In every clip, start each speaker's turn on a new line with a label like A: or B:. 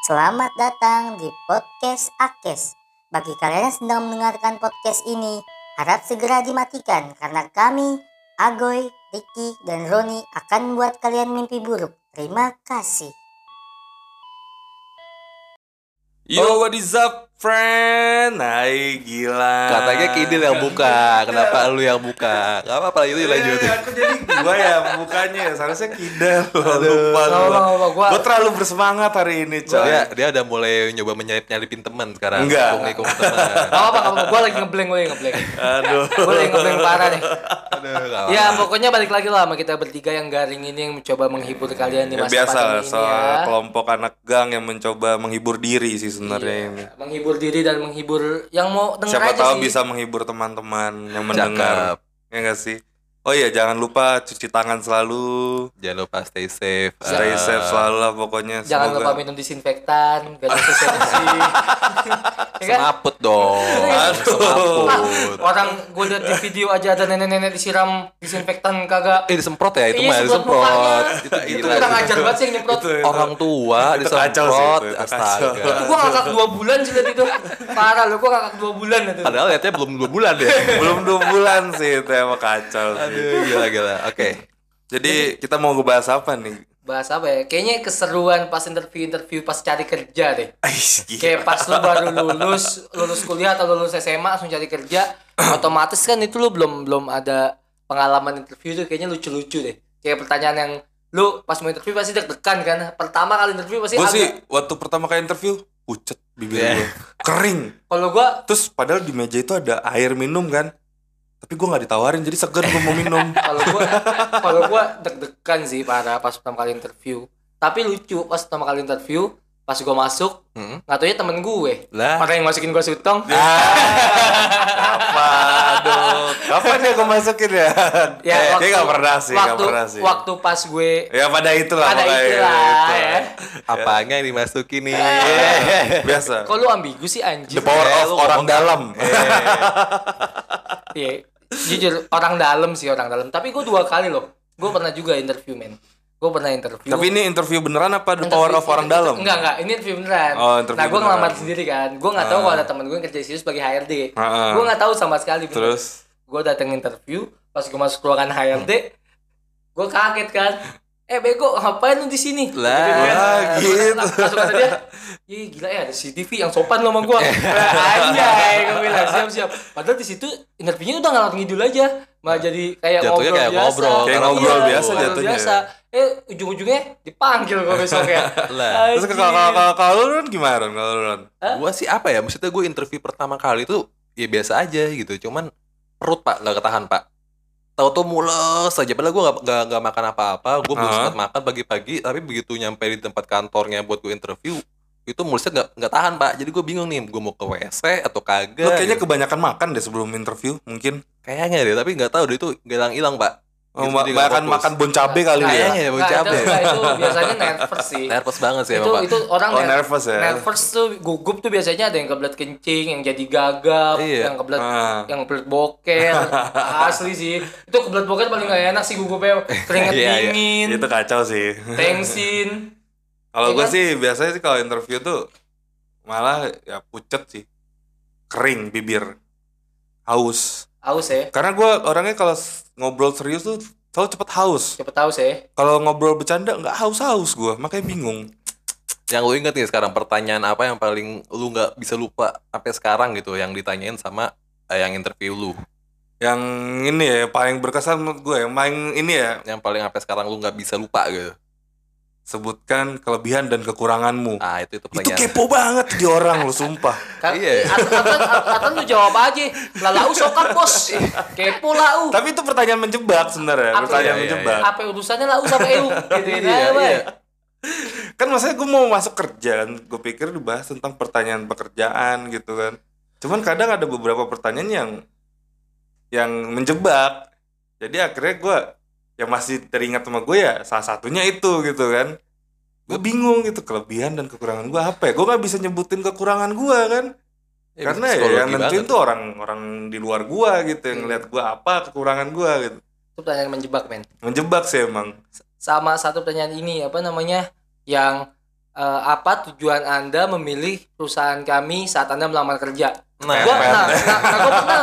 A: Selamat datang di podcast Akes. Bagi kalian yang sedang mendengarkan podcast ini, harap segera dimatikan karena kami, Agoy, Ricky, dan Roni akan membuat kalian mimpi buruk. Terima kasih.
B: Yo, what is up, friend? Hai, gila.
C: Katanya Kidil yang buka, kenapa lu yang buka? Gak apa-apa itu dilanjutin.
B: Iya, aku jadi gua ya bukannya. Seharusnya Kidil. Lupa
D: Nggak
B: gua.
D: apa-apa, nggak apa-apa.
B: Gua
D: Gua-
B: terlalu bersemangat hari ini,
C: Dia,
B: coy.
C: dia udah mulai nyoba menyelip-nyelipin teman sekarang.
B: Enggak.
C: Nikung teman.
D: Gak apa-apa, gak apa-apa. Gue lagi ngeblank, gue lagi ngeblank.
B: Aduh.
D: Gue lagi ngeblank parah nih.
C: Ya,
D: Ya pokoknya balik lagi lah sama kita bertiga yang garing ini yang mencoba menghibur kalian di
B: Ya,
D: masa
B: biasa lah,
D: pandemi ini
B: soal
D: ya.
B: kelompok anak gang yang mencoba menghibur diri sih sebenarnya ini.
D: Iya, Menghibur diri dan menghibur yang mau denger
B: Siapa
D: aja
B: tahu
D: sih.
B: bisa menghibur teman-teman yang
C: Cakep.
B: mendengar. Ya nggak sih? Oh iya, jangan lupa cuci tangan selalu,
C: jangan lupa stay safe.
B: stay
C: Eh,
B: safe selalu lah pokoknya.
D: Iya. Jangan lupa minum disinfektan, gak ada sosial ya kan?
C: Semaput dong.
B: Iya.
C: Semaput.
D: Orang gue liat di video aja ada nenek-nenek disiram disinfektan kagak.
C: Eh disemprot ya itu
D: Iya,
C: mah
D: semprot
C: disemprot.
D: mukanya.
C: Itu
D: Itu
C: gila.
D: kurang ajar banget sih yang nyemprot.
B: Itu-
C: Orang tua
B: Itu kacau sih,
C: disemprot.
B: itu- itu kacau.
C: Astaga.
D: Gue ngakak dua bulan sih liat itu. Parah lo, gue ngakak dua bulan itu.
C: Padahal liatnya belum dua bulan ya.
B: belum dua bulan sih itu emang kacau sih.
C: Aduh, gila gila. Oke.
D: Iya,
B: Jadi kita mau ngebahas apa nih?
D: Bahas apa ya? Kayaknya keseruan pas interview-interview pas cari kerja deh.
B: Ais, gila.
D: Kayak pas lu baru lulus, lulus kuliah atau lulus SMA langsung cari kerja, otomatis kan itu lu belum belum ada pengalaman interview tuh kayaknya lucu-lucu deh. Kayak pertanyaan yang lu pas mau interview pasti deg-degan kan. Pertama kali interview pasti
B: Gue
D: agak-
B: sih waktu pertama kali interview pucet bibir
C: Iya.
B: gue kering.
D: kalau gua
B: Terus padahal di meja itu ada air minum kan, tapi gue nggak ditawarin jadi seger gue mau minum.
D: kalau gua kalau gua deg-degan sih parah pas pertama kali interview. Tapi lucu pas pertama kali interview, pas gua masuk,
C: Hmm.
D: nggak taunya temen gue.
C: Lah.
D: Orang yang masukin gua sutong.
C: Ah.
B: apa? Aduh, kapan dia gue masukin ya? Eh, dia nggak pernah sih, nggak
D: waktu,
B: pernah sih.
D: Waktu pas gue
B: Ya pada itulah,
D: Pada
B: pokoknya
D: itulah,
B: gitu.
D: ya. Eh.
C: Apanya yang dimasukin nih?
B: Eh. Biasa.
D: Kok lu ambigu sih anjir?
B: The power
C: Eh,
B: of
C: lu
B: orang
C: ngomong-
B: dalam.
D: Eh. Iya. Jujur orang dalam sih orang dalam. Tapi gue dua kali loh. Gue pernah juga interview men. Gue pernah interview.
B: Tapi ini interview beneran apa the power of orang dalam?
D: Enggak enggak. Ini interview beneran.
B: Oh, interview
D: nah gue
B: beneran. Ah.
D: ngelamar sendiri kan. Gue nggak tahu kalau ada teman gue yang kerja di situ sebagai HRD.
B: Heeh.
D: Gue nggak tahu sama sekali. bener.
B: Ah. Terus
D: gue datang interview pas gue masuk ruangan HRD gue kaget kan eh bego ngapain lu di sini
C: Lah,
D: Gitu kan.
B: gitu.
D: langsung kata dia Ih gila ya ada CCTV yang sopan lo sama gue Anjay gue bilang siap-siap Padahal di situ interviewnya udah ngalor ngidul aja Malah jadi kayak
C: Jatuhnya
D: ngobrol
C: kayak
D: biasa
C: ngobrol,
B: Kayak
D: Iya,
B: ngobrol biasa
D: ngobrol
B: jatuhnya.
D: biasa. Eh ujung-ujungnya dipanggil gue besok ya
C: Lah.
B: terus ke- kalau kalau kalau- kalau lu Ron, gimana Ron? kalau lu Ron?
C: Gua sih apa ya? Maksudnya gue interview pertama kali itu ya biasa aja gitu. Cuman perut pak nggak ketahan pak. Tahu tuh mules aja. Padahal gue nggak nggak makan apa-apa. Gue belum
B: Hah?
C: sempat makan pagi-pagi. Tapi begitu nyampe di tempat kantornya buat gue interview itu mulusnya nggak nggak tahan pak. Jadi gue bingung nih. Gue mau ke WC atau kagak?
B: Lu kayaknya
C: gitu.
B: kebanyakan makan deh sebelum interview mungkin.
C: kayaknya deh. Tapi nggak tahu deh itu hilang-hilang pak.
B: Oh,
C: Gitu
B: ma-
C: jadi nggak
B: makan
C: fokus.
B: makan bon cabe kali
C: Nah,
D: iya,
B: ya.
C: Kayaknya ya, Bang
D: Nggak,
C: Cabe.
D: itu- nggak, itu biasanya nervous sih
C: Nervous banget sih
D: itu
C: emang pak.
D: itu orang
B: Oh,
D: ner-
B: nervous ya.
D: iya. nervous tuh gugup tuh biasanya ada yang kebelet kencing yang jadi gagap
C: Iya.
D: yang kebelet
B: Ah.
D: yang kebelet boker asli sih itu kebelet boker paling gak enak sih gugupnya keringet
C: Iya, iya.
D: dingin
B: Itu kacau sih.
D: tensin
B: Kalau
D: Iya
B: gue
D: kan?
B: sih biasanya sih kalau interview tuh malah ya pucet sih. Kering bibir. Haus.
D: haus ya
B: Karena gue orangnya kalau s- ngobrol serius tuh selalu cepet haus.
D: cepet haus ya
B: Kalau ngobrol bercanda nggak haus-haus gue, makanya bingung.
C: Yang lu inget nih sekarang pertanyaan apa yang paling lu nggak bisa lupa sampai sekarang gitu yang ditanyain sama eh, yang interview lu.
B: Yang ini ya yang paling berkesan menurut gue, yang paling ini ya
C: Yang paling sampai sekarang lu nggak bisa lupa gitu.
B: sebutkan kelebihan dan kekuranganmu.
C: Ah, itu
B: Itu
C: itu pertanyaan.
B: kepo banget di orang lo sumpah.
D: kan
C: Iya.
D: atau atau- atau lu jawab aja lah lau sokan bos kepo lau
B: Tapi itu pertanyaan menjebak sebenarnya,
D: Apa-
B: pertanyaan
C: Iya, iya,
B: menjebak.
D: apa urusannya lau sama eu gitu
C: Iya,
D: ya
C: iya.
B: Kan maksudnya gue mau masuk kerja kan, gue pikir dibahas tentang pertanyaan pekerjaan gitu kan. Cuman kadang ada beberapa pertanyaan yang yang menjebak. Jadi akhirnya gue yang masih teringat sama gue ya salah satunya itu gitu kan. Gue bingung gitu kelebihan dan kekurangan gue apa ya. Gue nggak bisa nyebutin kekurangan gue kan.
C: Ya,
B: Karena ya
C: psikologi
B: yang nentuin
C: banget.
B: tuh orang-orang di luar gua gitu yang ngeliat gua apa kekurangan gua gitu.
D: itu pertanyaan menjebak men
B: Menjebak sih emang.
D: sama satu pertanyaan ini apa namanya yang eh eh, apa tujuan Anda memilih perusahaan kami saat Anda melamar kerja?
C: Nah,
D: Gua- nah, nah, nah, gua pernah,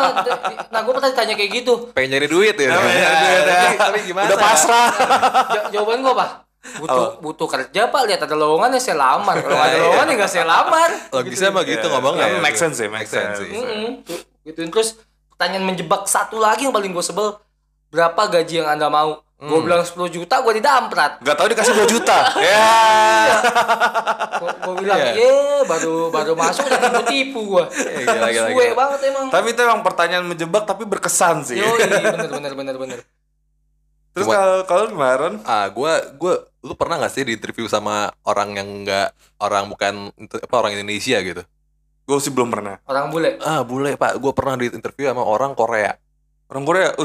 D: nah, gua pernah ditanya kayak gitu.
C: pengen nyari duit ya.
B: Pengen nyari duit, ya.
C: Tapi- Tapi gimana?
B: Udah pasrah.
D: Ja- jawaban gua apa? Butuh butuh kerja Pak, lihat ada lowongan ya saya lamar.
C: Iya.
D: Kalau nggak ada lowongan ya nggak saya lamar.
C: Logisnya emang gitu ngomongnya.
B: Nah,
C: ya.
B: make sense sih, make sense.
C: sih.
D: Mm-mm. Tuh, Gituin terus pertanyaan menjebak satu lagi yang paling gue sebel. Berapa gaji yang Anda mau?
C: Hmm.
D: Gue bilang 10 juta, gue didamprat.
B: Gak tau dikasih 2 juta. ya.
D: Gue bilang,
C: Iya.
D: ye, baru baru masuk udah tipu-tipu gue.
C: Iya, gila, gila,
D: Suwe
C: gila.
D: banget emang.
B: Tapi itu emang pertanyaan menjebak tapi berkesan sih.
D: Yoi, bener, bener, bener, bener.
B: Terus
C: Cuma-
B: kalau kalau kemarin
C: Ah, gua gua lu pernah gak sih di interview sama orang yang enggak orang bukan itu- apa orang Indonesia gitu?
B: gue sih belum pernah.
D: Orang bule.
C: Ah, bule, Pak. Gua pernah di interview sama orang Korea.
B: Orang Korea, uh,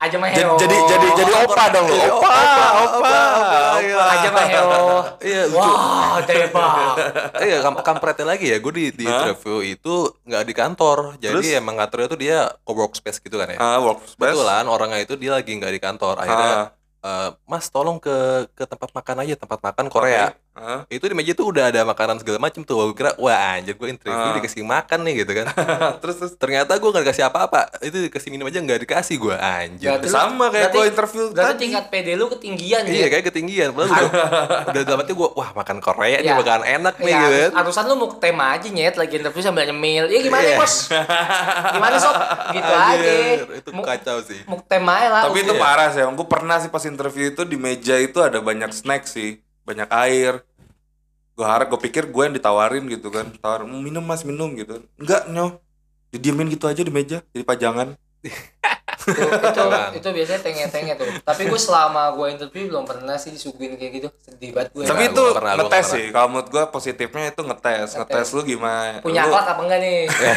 D: Aja
B: jadi
D: maheo.
B: jadi jadi jadi opa dong lo.
C: Jadi
B: Opa, opa, opa.
D: Aja ya. maheo.
C: Iya, lucu.
D: Wah, tebak.
C: Iya, kam kampretnya lagi ya. Gue di, di
B: Hah?
C: interview itu nggak di kantor. Jadi
B: Terus?
C: emang ngaturnya tuh dia ke workspace gitu kan ya.
B: Ah, workspace.
C: Kebetulan orangnya itu dia lagi nggak di kantor. Akhirnya,
B: Ah,
C: eh, Mas tolong ke ke tempat makan aja, tempat makan Korea.
B: ah.
C: Itu di meja tuh udah ada makanan segala macem tuh. Gue kira, wah anjir gue interview
B: Ah.
C: dikasih makan nih gitu kan.
B: terus terus
C: Ternyata gue nggak dikasih apa-apa. Itu dikasih minum aja nggak dikasih gue anjir.
D: Berarti-
B: sama kayak
D: berarti-
B: gue interview
D: Berarti
B: tadi.
D: tingkat PD lu ketinggian
C: Iya
D: ya.
C: kayak ketinggian. Padahal udah, udah dalam hati gue, wah makan Korea nih
D: Iya.
C: makanan enak nih
D: Ya,
C: gitu.
D: harus-
C: kan.
D: harusan lu mau ke tema aja nyet lagi interview sambil nyemil. Ya gimana
C: Iya.
D: bos? Gimana sob? Gitu aja.
C: Anjir, Itu
D: Mau-
C: kacau sih.
D: mau ke tema aja lah.
B: Tapi itu
C: Iya.
B: parah sih. Gue pernah sih pas interview itu di meja itu ada banyak snack sih, banyak air. Gue harap gue pikir gue yang ditawarin gitu kan, tawar "Mm, minum mas minum gitu. Enggak nyoh, didiemin gitu aja di meja, jadi pajangan.
D: itu, itu,
C: Emang.
D: itu biasanya tenge-tenge tuh. Tapi gue selama gue interview belum pernah sih disuguhin kayak gitu. Sedih banget gue.
B: Tapi
C: Enggak,
B: itu
C: gua nggak pernah, gua
B: ngetes
C: nggak
B: sih. Kalau menurut gue positifnya itu ngetes, ngetes lu gimana?
D: punya
B: Lu-
D: akhlak apa enggak nih? Iya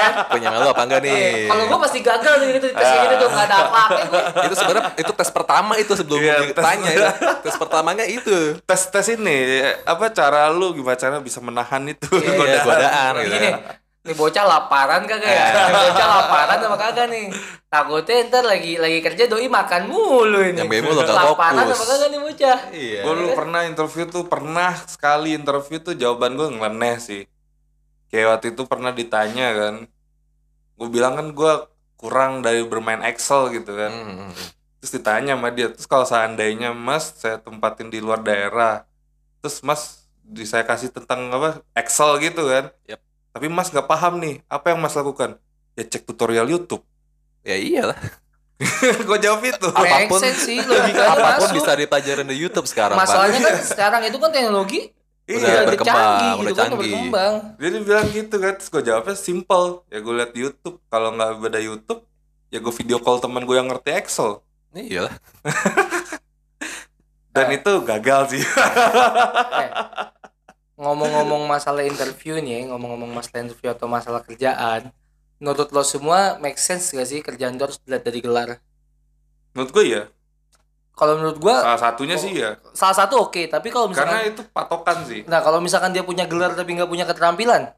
D: kan?
C: Punya lu apa enggak nih?
D: Kalau gue pasti gagal nih gitu tes kayak gitu tuh enggak ada akhlaknya gue.
C: itu sebenarnya itu tes pertama itu sebelum
B: Iya,
C: gua ditanya ya. tes pertamanya itu
B: tes tes ini apa cara lu gimana cara bisa menahan itu
C: Iya,
B: godaan?
C: godaan gitu. Iya.
D: Gini nih, nih bocah laparan kagak ya? Nih bocah laparan sama kagak nih? Takutnya ntar lagi lagi kerja doi makan mulu ini.
C: Yang bemo lo nggak
D: Laparan
C: fokus.
D: sama kagak nih bocah?
C: iya
B: Gue dulu pernah interview tuh pernah sekali interview tuh jawaban gue ngeleneh sih. Kayak waktu itu pernah ditanya kan, gue bilang kan gue kurang dari bermain Excel gitu kan.
C: Hmm.
B: Terus ditanya sama dia, terus kalau seandainya Mas saya tempatin di luar daerah, terus Mas di saya kasih tentang apa Excel gitu kan.
C: Yap.
B: Tapi Mas nggak paham nih apa yang Mas lakukan? Ya cek tutorial YouTube.
C: ya iyalah
B: gue jawab itu.
C: Apapun-
D: Make sense sih logikanya
C: apapun
D: masuk.
C: bisa dipelajarin di YouTube sekarang
D: Masalahnya kan sekarang itu kan teknologi
B: Iya.
C: Udah berkembang, udah
D: kan,
C: canggih.
D: berkembang.
B: Dia bilang gitu kan, terus gue jawabnya simple. Ya gue liat di YouTube, kalau nggak beda YouTube, ya gue video call teman gue yang ngerti Excel.
C: Pak iyalah
B: Dan itu gagal sih.
D: Eh, Ngomong-ngomong masalah interview nih, ya, ngomong-ngomong masalah interview atau masalah kerjaan, menurut lo semua make sense gak sih kerjaan tuh harus dilihat dari gelar?
B: Menurut gue ya,
D: Kalau menurut gua
B: salah satunya sih ya.
D: salah satu oke, tapi kalau
B: Karena
D: Eh, misalkan
B: itu patokan sih.
D: nah kalau misalkan dia punya gelar tapi nggak punya keterampilan,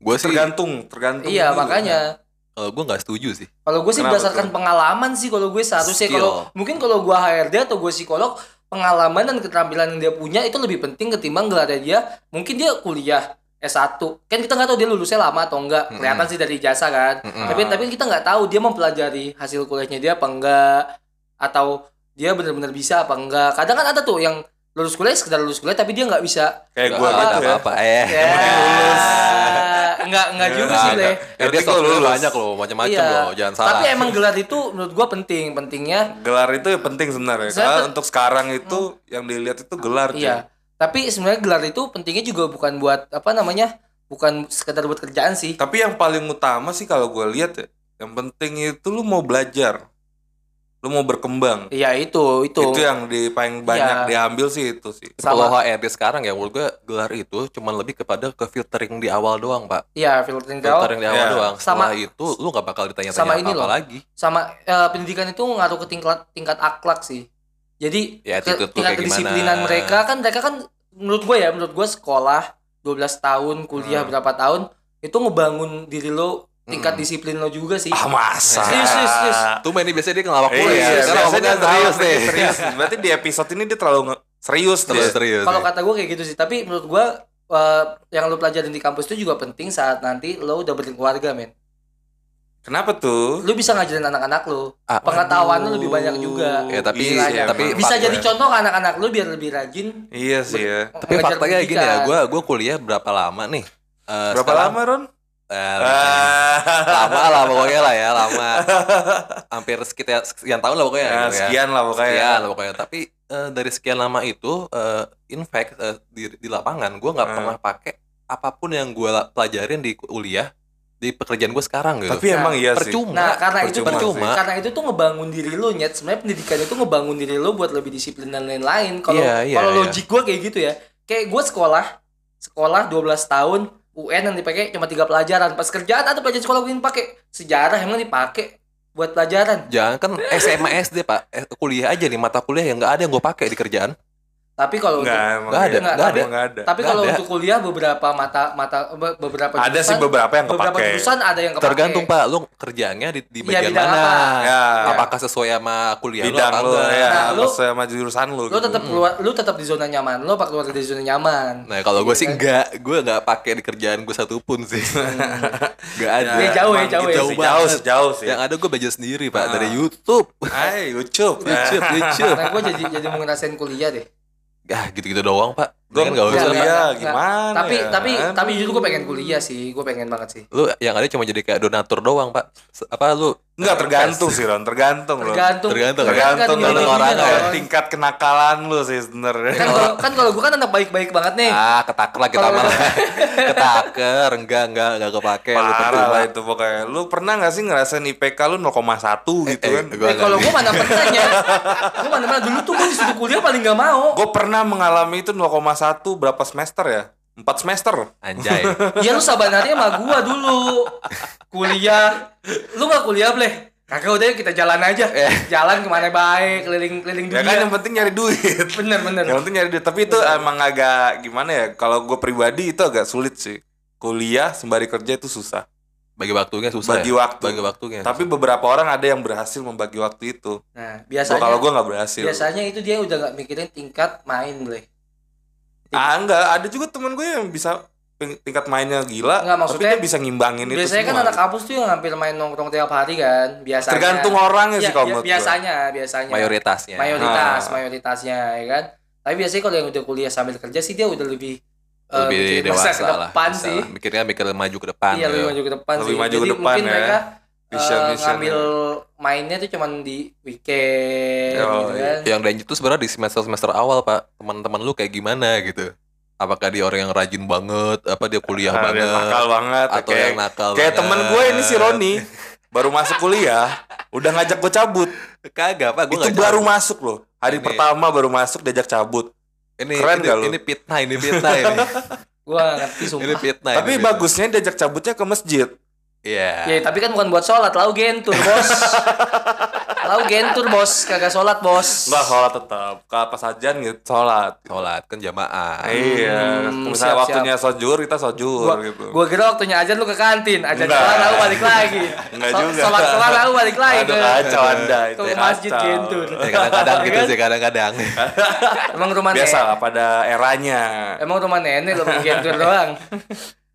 C: gue sih
B: Tergantung, tergantung.
D: iya
B: dulu.
D: makanya.
C: kalau gue nggak setuju sih
D: Kalau gue sih
B: Kenapa
D: berdasarkan
B: tuh?
D: pengalaman sih kalau gue seharusnya
C: Skill.
D: kalau mungkin kalau gue HRD atau gue psikolog pengalaman dan keterampilan yang dia punya itu lebih penting ketimbang gelarnya dia. Mungkin dia kuliah S1. Kan kita nggak tahu dia lulusnya lama atau
B: Hmm.
D: enggak. Kelihatan sih dari jasa kan.
C: Mm-mm.
D: Tapi tapi kita nggak tahu dia mempelajari hasil kuliahnya dia apa enggak atau dia benar-benar bisa apa enggak. Kadang kan ada tuh yang lulus kuliah sekedar lulus kuliah tapi dia nggak bisa.
B: Kayak gue
C: Nggak
B: gitu
C: ada
B: ya.
C: apa-apa eh
D: Ya. Enggak enggak
B: Ya,
D: juga
C: Nggak
D: sih,
C: ada.
D: Leh.
C: Ya, dia
B: Berarti gua
C: sosmed
B: lulus.
C: banyak loh macam-macam loh jangan salah
D: Iya. Tapi ya, emang gelar itu menurut gua penting, pentingnya
B: Gelar itu ya penting sebenarnya.
D: Saya
B: Karena
D: tuh- Hmm.
B: untuk sekarang itu yang dilihat itu gelar. cuy.
D: iya. Tapi sebenarnya gelar itu pentingnya juga bukan buat apa namanya? Bukan sekedar buat kerjaan sih.
B: Tapi yang paling utama sih kalau gue lihat ya, yang penting itu lu mau belajar, lu mau berkembang.
D: Iya, itu, itu.
C: ya.
B: Itu yang di paling banyak
D: Iya.
B: diambil sih itu sih.
C: kalau
D: sama.
C: HRD sekarang ya menurut gue gelar itu cuman lebih kepada ke filtering di awal doang pak
D: Iya, filtering jauh.
C: filtering di awal
B: Iya.
C: doang
D: Sama-
C: setelah itu lu nggak bakal ditanya-tanya
D: sama ini
C: apa-apa
D: loh.
C: lagi
D: sama eh, pendidikan itu ngaruh ke tingkat tingkat akhlak sih. Jadi
C: Ya,
D: ke-
C: attitude lu
D: tingkat
C: kayak
D: kedisiplinan
C: gimana.
D: mereka kan mereka kan menurut gue ya menurut gue sekolah 12 tahun
C: Hmm.
D: kuliah berapa tahun itu ngebangun diri lo tingkat disiplin lo juga sih.
B: Ah masa.
D: Serius, serius, serius.
C: tuh ini biasanya dia ngelawak
B: Iya,
C: mulu ya
B: iya,
C: sekarang
B: biasanya
C: ngomongnya
B: serius Iya.
C: serius nih
B: Serius. Berarti di episode ini dia terlalu nge- serius
C: Terlalu
B: deh
C: serius.
D: Kalau
C: ya.
D: kata gue kayak gitu sih, tapi menurut gue eh, yang lo pelajarin di kampus itu juga penting saat nanti lo udah berkeluarga, men.
B: kenapa tuh
D: Lo bisa ngajarin anak-anak lo.
C: Ah,
D: Pengetahuan lo lebih banyak juga.
C: Ya, tapi-
B: iya,
C: tapi-
B: emang.
D: Bisa
C: Fakta.
D: jadi contoh ke anak-anak lo biar lebih rajin.
B: iya sih ya
C: Tapi
D: mengejar
C: faktanya gini ya,
D: pendidikan.
C: gue gua kuliah berapa lama nih? Eh,
B: berapa
C: sekarang-
B: lama Ron Ah, ya,
C: Eh,
B: lama
C: lama lah pokoknya lah ya, lama. Hampir sekitar sekian tahun lah pokoknya. gitu ya.
B: sekian lah pokoknya
C: Sekian lah pokoknya. Tapi eh, dari sekian lama itu, eh, in fact eh, di, di lapangan gue nggak
B: Hmm.
C: pernah pakai apapun yang gue pelajarin di kuliah di pekerjaan gue sekarang gitu.
B: tapi emang iya sih
C: percuma.
D: Nah, karena itu
C: percuma,
D: percuma.
C: sih.
D: Karena itu tuh ngebangun diri lu, nyet. Sebenarnya pendidikan itu ngebangun diri lu buat lebih disiplin dan lain-lain. Kalau
C: Iya, iya,
D: kalau
C: iya.
D: logik gua kayak gitu ya. Kayak gua sekolah, sekolah 12 tahun, UN yang dipakai cuma tiga pelajaran. Pas kerjaan ada pelajaran sekolah gue yang pakai sejarah emang dipakai buat pelajaran.
C: Jangan kan SMA SD pak, Eh, kuliah aja nih mata kuliah yang nggak ada yang gue pakai di kerjaan.
D: Tapi kalau
B: nggak
D: untuk,
B: emang
C: Nggak ada,
B: iya.
C: nggak ada.
B: Emang nggak ada
D: tapi
C: nggak
D: kalau
C: ada.
D: untuk kuliah beberapa mata mata be- beberapa
B: ada sih
D: jurusan-
B: beberapa yang
D: beberapa
B: kepake
D: jurusan ada yang kepake.
C: Tergantung pak, lu kerjaannya di, di
D: Iya,
C: bagian
D: bidang
C: mana?
B: ya
C: Apakah sesuai sama kuliah lu
B: bidang
C: Nah, apa
B: lu
C: enggak?
B: ya
D: Nah, lu-
B: sesuai sama jurusan lu
D: Lu
B: gitu.
D: tetap keluar, lu tetap di zona nyaman. Lu apa keluar dari zona nyaman?
C: Hmm. Nah kalau gue sih
B: kan?
D: Iya.
C: enggak, gue enggak pakai di kerjaan gue satupun sih
B: Hmm.
C: Enggak ada
D: Dia jauh ya,
B: emang
D: jauh
B: gitu
D: ya.
B: sih, jauh
C: Jauh banget.
B: sih, jauh sih
C: Yang ada gue belajar sendiri pak,
B: Ah.
C: dari Youtube
B: Hai, YouTube
C: Youtube, Youtube
D: Nah, gue jadi jadi mau ngerasain kuliah deh.
C: Gah Ah, gitu-gitu doang pak
B: Gue
C: Gue kan gak usah
D: kuliah.
C: Pak.
B: gimana
D: Iya, tapi
B: ya?
D: tapi tapi jujur gue pengen kuliah sih gue pengen banget sih
C: Lu yang ada cuma jadi kayak donatur doang pak Se- Apa lu
B: Enggak
C: eh,
B: tergantung
C: fans.
B: sih Ron, tergantung lo.
D: tergantung
C: Tergantung,
B: Tergantung dari orang ya.
C: tergantung
D: nilai dirinya
C: orangnya.
D: dong.
B: tingkat kenakalan lu sih
D: kan
B: sebenernya.
D: kalau kan kalau gue kan anak baik-baik banget nih
C: Ah ketaker lah kita
D: Kalau-
C: malah Ketaker, enggak, enggak, enggak kepake lu
B: Parah
C: percuma.
B: lah itu pokoknya. Lu pernah gak sih ngerasain IPK lu 0,1 gitu
C: eh,
B: kan?
C: gua-
D: Eh, kalau gue mana pernah ya gue mana pernah dulu tuh gue disuruh kuliah paling gak mau
B: Gue pernah mengalami itu 0,1 berapa semester ya? 4 semester.
C: Anjay
D: ya lu sabanarnya sama gue dulu kuliah lu gak kuliah bleh kagak udah yuk kita jalan aja jalan kemana baik keliling keliling
B: Eh. Ya kan Ya. yang
D: dunia
B: penting nyari duit.
D: bener Iya. bener
B: yang penting nyari duit. Tapi itu emang agak gimana ya? Kalau gue pribadi itu agak sulit sih. Kuliah sembari kerja itu susah.
C: Bagi waktunya susah
B: Bagi
C: ya?
B: waktu.
C: Bagi waktunya
B: Tapi beberapa orang ada yang berhasil membagi waktu itu.
D: nah
B: Gua- Kalau
D: biasanya
B: gue nggak berhasil.
D: biasanya itu dia udah gak mikirin tingkat main bleh
B: Ah enggak, ada juga temen gue yang bisa ping- tingkat mainnya gila,
D: Enggak, maksudnya-
B: tapi dia bisa ngimbangin itu
D: biasanya kan
B: semua.
D: anak kampus tuh yang hampir main nongkrong tiap hari kan biasanya
B: Tergantung orangnya
D: ya,
B: sih kalau
D: ya,
B: menurut gue.
D: biasanya biasanya
C: Mayoritasnya
D: mayoritas
B: Ah.
D: mayoritasnya ya kan tapi biasanya kalau yang udah kuliah sambil kerja sih dia udah lebih eh,
C: lebih
D: mikirin masa
C: dewasa
D: ke
C: lah
D: depan
C: bisa
D: sih
C: lah. mikirnya mikir maju ke depan
D: iya lebih
C: gitu.
D: maju ke depan
B: Lebih
D: sih
B: maju ke
D: jadi
B: depan
D: mungkin
B: ya.
D: mereka eh,
B: Vision-visionnya.
D: ngambil mainnya tuh cuman di weekend
B: Oh,
D: gitu kan
C: iya. yang danger tuh sebenarnya di semester semester awal pak teman-teman lu kayak gimana gitu apakah dia orang yang rajin banget apa dia kuliah
B: Nah, dia
C: banget
B: nakal banget
C: atau
B: kayak,
C: yang nakal
B: kayak
C: banget.
B: temen gue ini si Roni baru masuk kuliah udah ngajak gue cabut
C: kagak pak gue
B: itu baru masuk loh hari
C: Ini-
B: pertama baru masuk diajak cabut
C: ini
B: Keren
C: ini,
B: gak lu?
C: ini fitnah ini fitnah ini
D: gua gak ngerti
C: ini
D: sumpah
C: fitnah
B: tapi
C: ini fitnah.
B: bagusnya diajak cabutnya ke masjid
C: iya
D: ya tapi kan bukan buat sholat lau gentur bos lau gentur bos kagak sholat bos
B: enggak sholat tetap kalau sajian gitu sholat
C: sholat kan jamaah
B: iya
D: Hmm,
B: misalnya
D: siap-siap.
B: waktunya sojur kita sojur
D: gua,
B: gitu
D: gua kira waktunya ajan lu ke kantin ajan
B: Enggak.
D: kelar aku balik lagi
B: Enggak juga.
D: sholat kelar aku balik lagi
B: Aduh,
D: ke-
B: kacau anda itu
D: ke masjid
B: kacau.
D: gentur
C: ya kadang-kadang
B: Iya
C: gitu
D: Kan?
C: sih kadang-kadang
D: emang rumah
B: biasa
D: nenek
B: lah pada eranya
D: emang rumah nenek lu gentur doang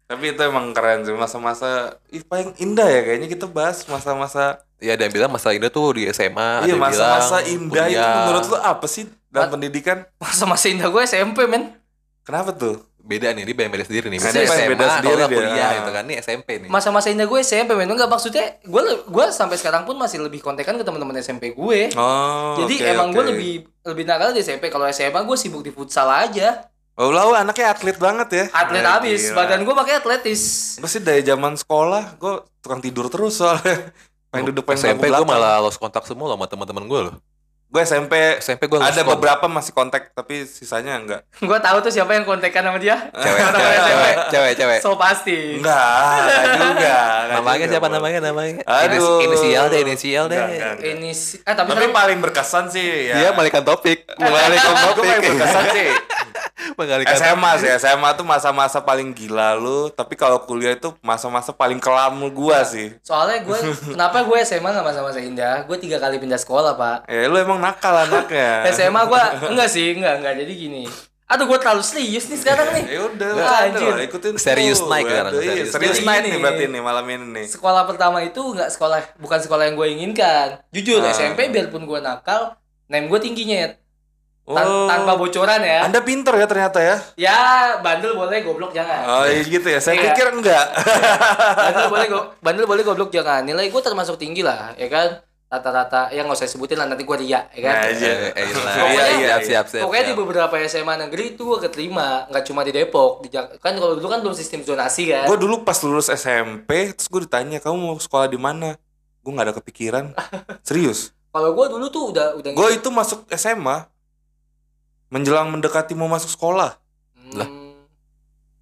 B: tapi itu emang keren sih masa-masa ih, paling indah ya kayaknya kita bahas masa-masa
C: ya ada yang bilang masa indah tuh di SMA ada
B: iya
C: yang
B: masa-masa
C: bilang
B: indah itu
C: kuliah.
B: menurut lu apa sih dalam
D: Mas-
B: pendidikan
D: masa masih indah gue SMP men
B: kenapa tuh
C: beda nih ini beda sendiri nih
B: Ini
C: Misalnya SMA
B: beda sendiri
C: kalau nggak
B: dia.
C: kuliah gitu kan ini SMP nih
D: masa-masa indah gue SMP men enggak maksudnya gue gue sampai sekarang pun masih lebih kontekan ke teman-teman SMP gue
B: oh
D: jadi
B: oke,
D: emang
B: oke.
D: gue lebih lebih nakal di SMP kalau SMA gue sibuk di futsal aja
B: oh lu anaknya atlet banget ya
D: atlet
B: Ya,
D: habis
B: gila.
D: badan gue pakai atletis
B: Gua sih dari zaman sekolah gue tukang tidur terus soalnya pengen duduk pengen
C: SMP
B: bangku belakang.
C: gue malah lost kontak semua loh sama teman-teman gue loh
B: gue SMP
C: SMP gue
B: ada beberapa masih kontak tapi sisanya enggak
D: gue tahu tuh siapa yang kontekan sama dia
C: cewek
D: Teman-teman
C: cewek
D: SMP.
C: cewek cewek, cewek.
D: so pasti
B: Eh, enggak enggak juga enggak
C: namanya
B: juga,
C: siapa
B: Bos.
C: namanya namanya
B: Aduh.
C: Ini- inisial deh inisial deh
B: Enggak, enggak, enggak.
D: ini si- eh tapi,
B: tapi
D: sekarang-
C: Iya,
B: paling berkesan sih ya
C: dia melarikan topik
B: Mulai
C: melarikan
B: gue
C: topik
B: paling berkesan sih
C: Menggali kata.
B: SMA sih SMA tuh masa-masa paling gila lu tapi kalau kuliah itu masa-masa paling kelam
D: Iya.
B: gua sih
D: Soalnya gue, kenapa gue SMA gak masa-masa indah? Gue tiga kali pindah sekolah, Pak.
B: ya lu emang nakal anaknya
D: SMA gue, enggak sih, enggak, enggak. Jadi gini. Aduh, gue terlalu serius nih sekarang nih.
B: ya udah
D: Nah,
B: udah,
D: anjir.
B: udah, ikutin
C: Serius
B: tuh.
C: naik
B: Waduh,
C: sekarang,
B: iya,
C: serius
B: serius
D: naik.
B: naik nih berarti nih malam ini nih
D: Sekolah pertama itu enggak sekolah, bukan sekolah yang gue inginkan. Jujur,
B: Ah.
D: SMP biarpun gue nakal, name gue tingginya ya. Tan-
B: Oh.
D: Tanpa bocoran ya.
B: anda pinter ya ternyata ya
D: Ya, bandel boleh, goblok jangan.
B: oh iya gitu ya saya
D: Iya.
B: pikir enggak
D: bandel boleh go bandel boleh goblok jangan nilai gue termasuk tinggi lah ya kan rata-rata ya nggak usah sebutin lah nanti gue ria ya kan
B: Nah, iya.
C: Eh, eh, lah.
D: Pokoknya-
C: siap, siap, siap,
D: pokoknya di
C: siap.
D: beberapa SMA negeri itu gue keterima nggak cuma di Depok di Jak- kan kalau dulu kan belum sistem zonasi kan
B: gue dulu pas lulus SMP terus gue ditanya kamu mau sekolah di mana gue nggak ada kepikiran serius
D: kalau gue dulu tuh udah udah
B: gue itu masuk SMA menjelang mendekati mau masuk sekolah
D: Hmm.
C: Lah.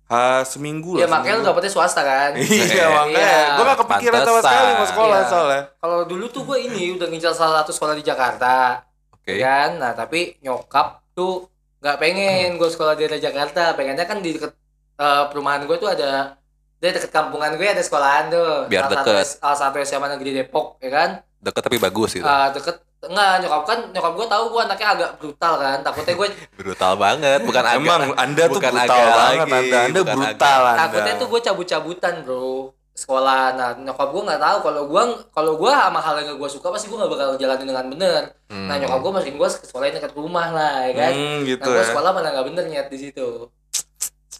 B: ha seminggu
D: ya
B: lah
D: makanya lu
B: seminggu.
D: dapetnya swasta kan
B: iya makanya gue
C: kan-
B: gak kepikiran sama
C: Pantesan.
B: sekali mau sekolah
D: Iya.
B: soalnya
D: kalau dulu tuh gue ini udah ngincar salah satu sekolah di Jakarta
C: Oke.
D: ya kan nah tapi nyokap tuh nggak pengen gue sekolah di daerah Jakarta pengennya kan di deket eh, perumahan gue tuh ada dia deket kampungan gue ada sekolahan tuh
C: Biar
D: salah
C: deket.
D: satu salah satu SMA negeri Depok ya kan
C: Deket tapi bagus gitu.
D: Eh, deket enggak nyokap kan nyokap gue tahu gue anaknya agak brutal kan takutnya gue
C: Brutal banget, bukan agak.
B: emang ah, anda tuh
C: bukan
B: brutal
C: agak
B: banget
C: lagi,
B: anda anda
C: bukan
B: brutal anda
D: takutnya tuh gue cabut-cabutan bro sekolah nah nyokap gue nggak tahu kalau gue kalau gue sama hal yang gue suka pasti gue nggak bakal jalanin dengan bener
C: Hmm.
D: nah nyokap gue masukin gue ke sekolah yang dekat rumah lah ya kan
B: hmm, gitu
D: Nah, gue
B: ya
D: sekolah mana nggak bener niat di situ.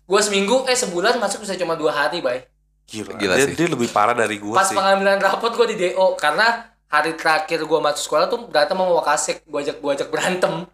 D: Gue seminggu, eh sebulan masuk bisa cuma dua hari, bay.
B: gila,
C: Gila
B: dia,
C: sih.
B: dia lebih parah dari gue
D: Pas
B: sih
D: pengambilan rapot gue di DO karena hari terakhir gue masuk sekolah tuh berantem sama Wakasek, gue ajak gue ajak berantem.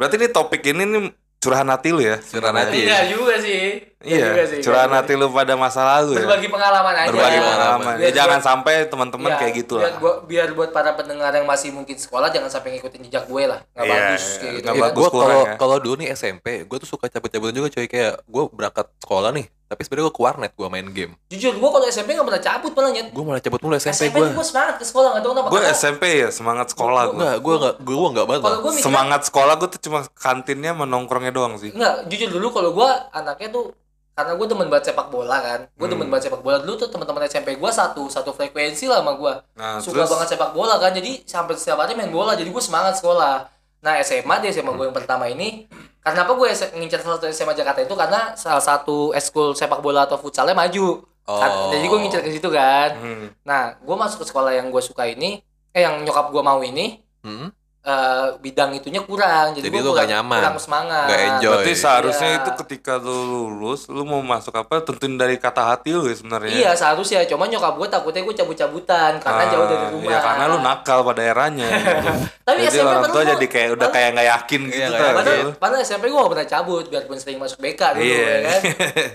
B: berarti ini topik ini nih curahan hati lu ya
C: Curahan hati. Iya.
D: Enggak juga sih. Enggak
B: iya
D: juga sih,
B: curahan
D: enggak
B: hati lu pada masa lalu ya
D: Berbagi pengalaman aja.
B: berbagi
C: Iya.
B: pengalaman ya,
D: Biar
B: jangan
D: gua-
B: sampai teman-teman
D: iya,
B: kayak gitu
D: Biar,
B: lah
D: gua- biar buat para pendengar yang masih mungkin sekolah jangan sampai ngikutin jejak gue lah. Nggak
B: Iya,
D: bagus
B: iya,
D: kayak gitu.
B: nggak
D: ya kan?
B: bagus.
C: gue kalau
B: kurang ya.
C: kalau dulu nih SMP gue tuh suka cabut-cabutan juga coy kayak gue berangkat sekolah nih tapi sebenarnya gue ke warnet gue main game
D: Jujur gue kalau SMP nggak pernah cabut malah nyet.
C: gue malah cabut mulu SMP
D: SMP
C: gue
D: gue semangat ke sekolah nggak tahu kenapa.
B: gue
D: Karena
B: SMP ya semangat sekolah gue
C: Enggak, gue enggak, gue enggak banget.
D: Kalau
C: Bang.
D: gue mikirnya
B: semangat sekolah gue tuh cuma kantinnya menongkrongnya doang sih
D: Enggak, jujur dulu kalau gua anaknya tuh karena gue demen banget sepak bola kan gue
B: Hmm.
D: demen banget sepak bola dulu tuh teman-teman SMP gua satu satu frekuensi lah sama gua
B: nah
D: suka
B: terus
D: banget sepak bola kan jadi sampai setiap hari main bola jadi gue semangat sekolah nah SMA di SMA gue yang pertama ini karena apa gue ngincar salah satu SMA Jakarta itu karena salah satu eskul sepak bola atau futsalnya maju Kan,
C: Oh.
D: jadi gue ngincar ke situ kan
B: hmm.
D: nah gue masuk ke sekolah yang gue suka ini eh yang nyokap gua mau ini
C: Hmm?
D: eh, bidang itunya kurang jadi,
C: Jadi
D: gua
C: lu nggak
D: kurang-
C: nyaman,
D: kurang semangat
C: nggak enjoy.
B: berarti seharusnya
D: Iya.
B: itu ketika lu lulus lu mau masuk apa tentuin dari kata hati lu ya sebenarnya
D: Iya seharusnya, cuma nyokap gue takutnya gue cabut-cabutan karena
B: Ah,
D: jauh dari rumah.
B: Iya karena lu nakal pada eranya. gitu.
D: Tapi
B: jadi
D: SMP
B: orang tua
D: padahal-
B: jadi kayak udah kayak nggak yakin gitu
C: Iya,
B: tau
C: nggak
B: gak
D: Padahal,
B: lu?
D: padahal SMP gue gak pernah cabut, biarpun sering masuk BK dulu
B: Iya.
D: ya Eh, kan.